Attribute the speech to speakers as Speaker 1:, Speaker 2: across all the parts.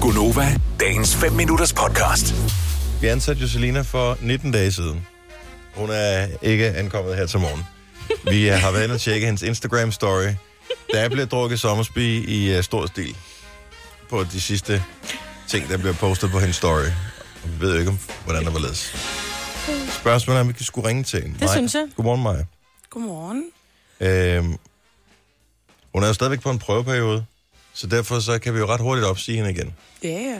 Speaker 1: Gunova, dagens 5 minutters podcast.
Speaker 2: Vi ansatte Joselina for 19 dage siden. Hun er ikke ankommet her til morgen. Vi øh, har været inde og tjekke hendes Instagram-story. Der bliver drukket sommersby i øh, stor stil på de sidste ting, der bliver postet på hendes story. Og vi ved jo ikke, om- hvordan der var ledes. Spørgsmålet er, om vi kan skulle ringe til hende. Det
Speaker 3: synes jeg.
Speaker 2: Godmorgen, Maja.
Speaker 3: Godmorgen.
Speaker 2: Øhm, hun er jo stadigvæk på en prøveperiode, så derfor så kan vi jo ret hurtigt opsige hende igen.
Speaker 3: Ja, ja.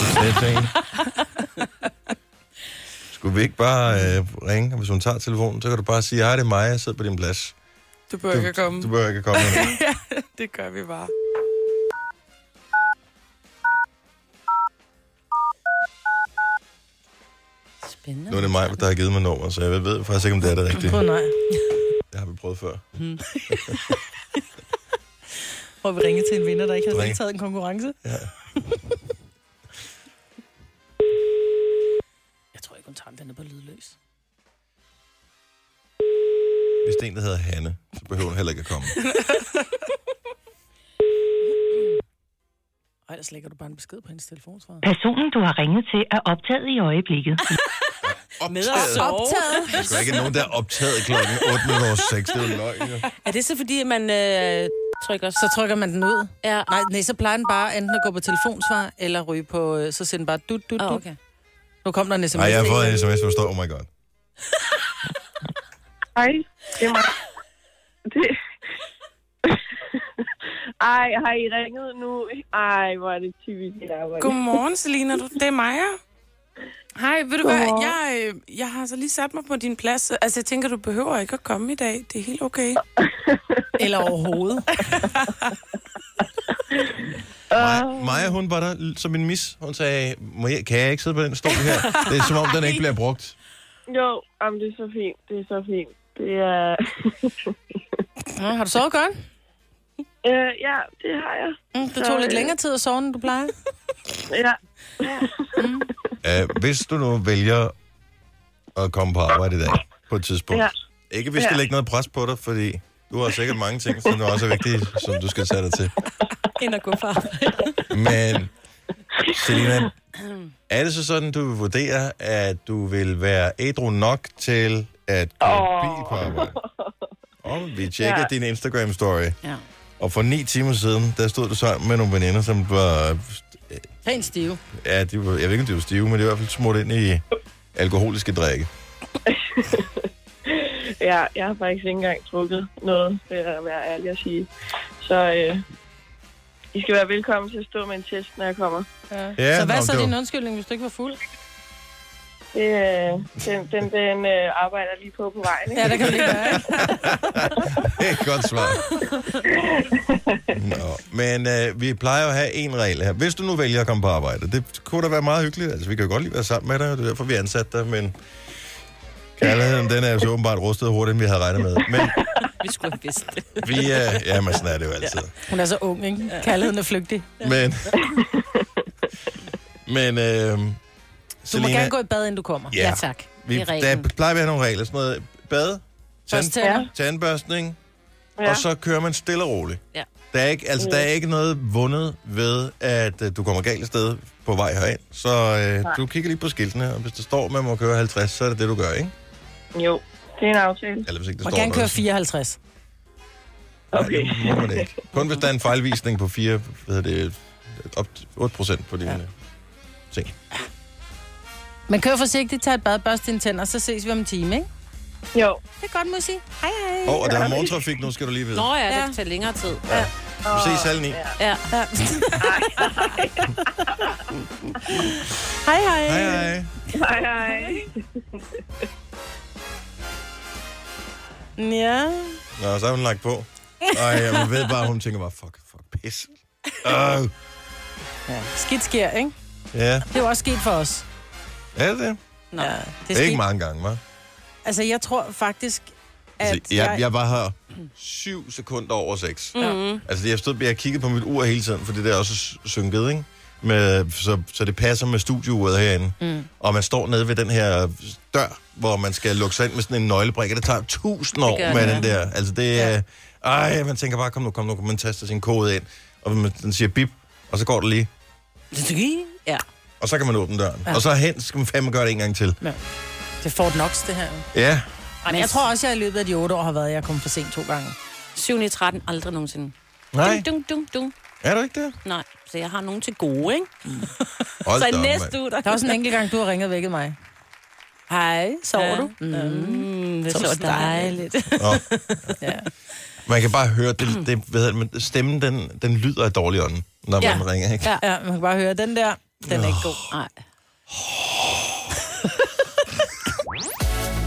Speaker 2: Så jeg tænkte, skulle vi ikke bare øh, ringe, og hvis hun tager telefonen, så kan du bare sige, hej, det er mig, jeg sidder på din plads.
Speaker 3: Du behøver ikke at komme.
Speaker 2: Du behøver ikke at komme. nu.
Speaker 3: Det gør vi bare.
Speaker 4: Spændende.
Speaker 2: nu er det mig, der har givet mig nummer, så jeg ved- ved faktisk ikke, om det er det rigtige.
Speaker 4: Åh oh, nej.
Speaker 2: Det har vi prøvet før.
Speaker 4: Prøv at ringe til en vinder, der ikke har
Speaker 2: Ring.
Speaker 4: taget en konkurrence.
Speaker 2: Ja.
Speaker 4: Jeg tror ikke, hun tager den. den er på lydløs.
Speaker 2: Hvis det er en, der hedder Hanne, så behøver hun heller ikke at komme.
Speaker 4: Ej, ellers lægger du bare en besked på hendes telefon, tror jeg.
Speaker 5: Personen, du har ringet til, er optaget i øjeblikket.
Speaker 4: Med at sove.
Speaker 2: Der er sgu ikke nogen, der er optaget klokken 8.06. Det er jo løgn, jo.
Speaker 6: Er det så fordi, at man øh, trykker så?
Speaker 4: Så trykker man den ud.
Speaker 6: Ja.
Speaker 4: Nej, nej, så plejer den bare enten at gå på telefonsvar, eller ryge på, øh, så sender den bare dut, dut, dut.
Speaker 6: Åh,
Speaker 4: Okay. Nu kom der en sms.
Speaker 2: Nej, jeg har fået en sms, hvor der står, oh my god.
Speaker 7: Hej, det er mig. Det... Ej, har I ringet nu? Ej, hvor er det typisk et arbejde.
Speaker 3: Godmorgen, Selina. Du- Det er Maja. Hej, ved du hvad? Jeg, øh, jeg har så lige sat mig på din plads. Altså, jeg tænker, du behøver ikke at komme i dag. Det er helt okay.
Speaker 4: Eller overhovedet.
Speaker 2: Maja, Maja, hun var der l- som en mis. Hun sagde, Må jeg, kan jeg ikke sidde på den stol her? Det er som om, den ikke bliver brugt.
Speaker 7: Jo, jamen, det er så fint. Det er så fint. Det er...
Speaker 4: Nå, har du sovet godt?
Speaker 7: øh, ja, det har jeg.
Speaker 4: Mm, det tog lidt længere tid at sove, end du plejer.
Speaker 7: Ja.
Speaker 2: Uh, hvis du nu vælger at komme på arbejde i dag, på et tidspunkt. Ja.
Speaker 7: Ja.
Speaker 2: Ikke, vi skal ja.
Speaker 7: Ja.
Speaker 2: lægge noget pres på dig, fordi du har sikkert mange ting, som også er vigtige, som du skal tage dig til.
Speaker 4: End at gå far.
Speaker 2: Men, Selina, er det så sådan, du vil vurdere, at du vil være ædru nok til at køre oh.
Speaker 7: Åh.
Speaker 2: bil på arbejde? Og vi tjekker ja.
Speaker 7: Ja.
Speaker 2: din Instagram-story.
Speaker 4: Ja.
Speaker 2: Og for ni timer siden, der stod du sammen med nogle veninder, som var...
Speaker 4: Tag en stive.
Speaker 2: Ja, de var, jeg ved ikke, om de var stive, men de var i hvert fald smurt ind i alkoholiske drikke.
Speaker 7: ja, jeg har faktisk ikke engang drukket noget, vil jeg være ærlig at sige. Så øh, I skal være velkommen til at stå med en test, når jeg kommer.
Speaker 2: Ja,
Speaker 4: så hvad
Speaker 2: nå,
Speaker 4: så
Speaker 2: det var-
Speaker 4: din undskyldning, hvis du ikke var fuld?
Speaker 7: Det, øh, den den, den øh, arbejder jeg lige på på vejen. Ikke?
Speaker 4: Ja, det kan du ikke gøre, ikke?
Speaker 2: Det er et godt svar. Nå, men øh, vi plejer jo at have en regel her. Hvis du nu vælger at komme på arbejde, det kunne da være meget hyggeligt. Altså, vi kan jo godt lide at være sammen med dig, og det er derfor, vi er ansat dig, men kærligheden, den er jo så åbenbart rustet hurtigt, end vi havde regnet med. Men
Speaker 6: Vi skulle have vidst det.
Speaker 2: vi er... Øh, ja, men sådan er det jo altid.
Speaker 4: Hun er så ung, ikke? Kærligheden er flygtig.
Speaker 2: Men... Men... Øh,
Speaker 4: Du må gerne gå i bad, inden du kommer.
Speaker 2: Ja.
Speaker 6: Ja, tak.
Speaker 2: vi,
Speaker 6: Vi, det er reglen.
Speaker 2: der plejer vi at have nogle regler. Sådan noget bad,
Speaker 4: Først
Speaker 2: tand,
Speaker 4: tænder.
Speaker 2: tandbørstning,
Speaker 7: Ja.
Speaker 2: og så kører man stille og roligt.
Speaker 6: Ja. Mm.
Speaker 2: Der er ikke, altså, der er ikke noget vundet ved, at øh, du kommer galt af sted på vej herind. Så øh, du kigger lige på skiltene, og hvis der står, at man må køre 50, så er det det, du gør, ikke?
Speaker 7: Jo, det er en aftale.
Speaker 2: Eller hvis ikke der
Speaker 4: Man
Speaker 2: står
Speaker 4: kan
Speaker 2: noget.
Speaker 4: køre 54.
Speaker 7: Okay.
Speaker 2: Nej, det må man ikke. Kun hvis der er en fejlvisning på 4, hvad hedder det, op 8 procent på dine ja. ting.
Speaker 4: Men kør forsigtigt, tag et bad, børst dine tænder, så ses vi om en time, ikke?
Speaker 7: Jo,
Speaker 4: Det er godt, må jeg sige. Hej, hej.
Speaker 2: Og, og der er morgentrafik nu, skal du lige vide.
Speaker 6: Nå ja, det
Speaker 4: Ja.
Speaker 6: kan tage længere tid.
Speaker 2: Vi ses halv ni.
Speaker 6: Ja.
Speaker 4: Hej, hej.
Speaker 2: Hej, hej.
Speaker 7: hej hej.
Speaker 4: Ja.
Speaker 2: Nå, så har hun lagt på. Og jeg ved bare, hun tænker bare, fuck, fuck, pis. Uh,
Speaker 4: Skidt sker, ikke?
Speaker 2: ja,
Speaker 4: Det er jo også sket for os.
Speaker 2: er det det?
Speaker 4: Nå. Ja,
Speaker 2: Det er ikke mange gange, hva'?
Speaker 4: Altså, jeg tror faktisk, at
Speaker 2: Altså, jeg, jeg var her syv sekunder over seks. Mm-hmm. Altså, jeg stod, jeg kiggede på mit ur hele tiden, fordi det er også s- synket, ikke? Med, så, så det passer med studieuret herinde. Mm. Og man står nede ved den her dør, hvor man skal lukke sig ind med sådan en nøglebrik, og det tager tusind år
Speaker 6: gør
Speaker 2: med
Speaker 6: det,
Speaker 2: den der. Altså, det er... Ja. Ej, man tænker bare, kom nu, kom nu, man taster sin kode ind, og man, den siger bip, og så går det lige
Speaker 6: Ja.
Speaker 2: Og så kan man åbne døren. Ja. Og så hen skal man fandme gøre det en gang til.
Speaker 4: Det er Fort Knox, det her. jo.
Speaker 2: Ja,
Speaker 4: Men jeg tror også, jeg i løbet af de otte år har været, jeg er kommet for sent to gange.
Speaker 6: 7. i 13, aldrig nogensinde.
Speaker 2: nej,
Speaker 6: Dung, dung, dung, dung.
Speaker 2: er du ikke det?
Speaker 6: Nej, så jeg har nogen til gode, ikke?
Speaker 2: Hold
Speaker 6: så
Speaker 2: da op,
Speaker 6: næste
Speaker 2: mand.
Speaker 6: uge, der...
Speaker 4: Der er også en enkelt gang, du har ringet og vækket mig. Hej, sover
Speaker 6: Ja.
Speaker 4: ja. du?
Speaker 6: Mm, det
Speaker 4: Så
Speaker 6: er så dejligt.
Speaker 2: Nå.
Speaker 4: Ja.
Speaker 2: Man kan bare høre, det, det, hvad hedder det, men stemmen den, den lyder af dårlig ånd, når ja.
Speaker 6: Ja.
Speaker 2: man ringer. Ikke?
Speaker 6: Ja.
Speaker 4: ja, man kan bare høre den der. Den er ikke god.
Speaker 6: Nej.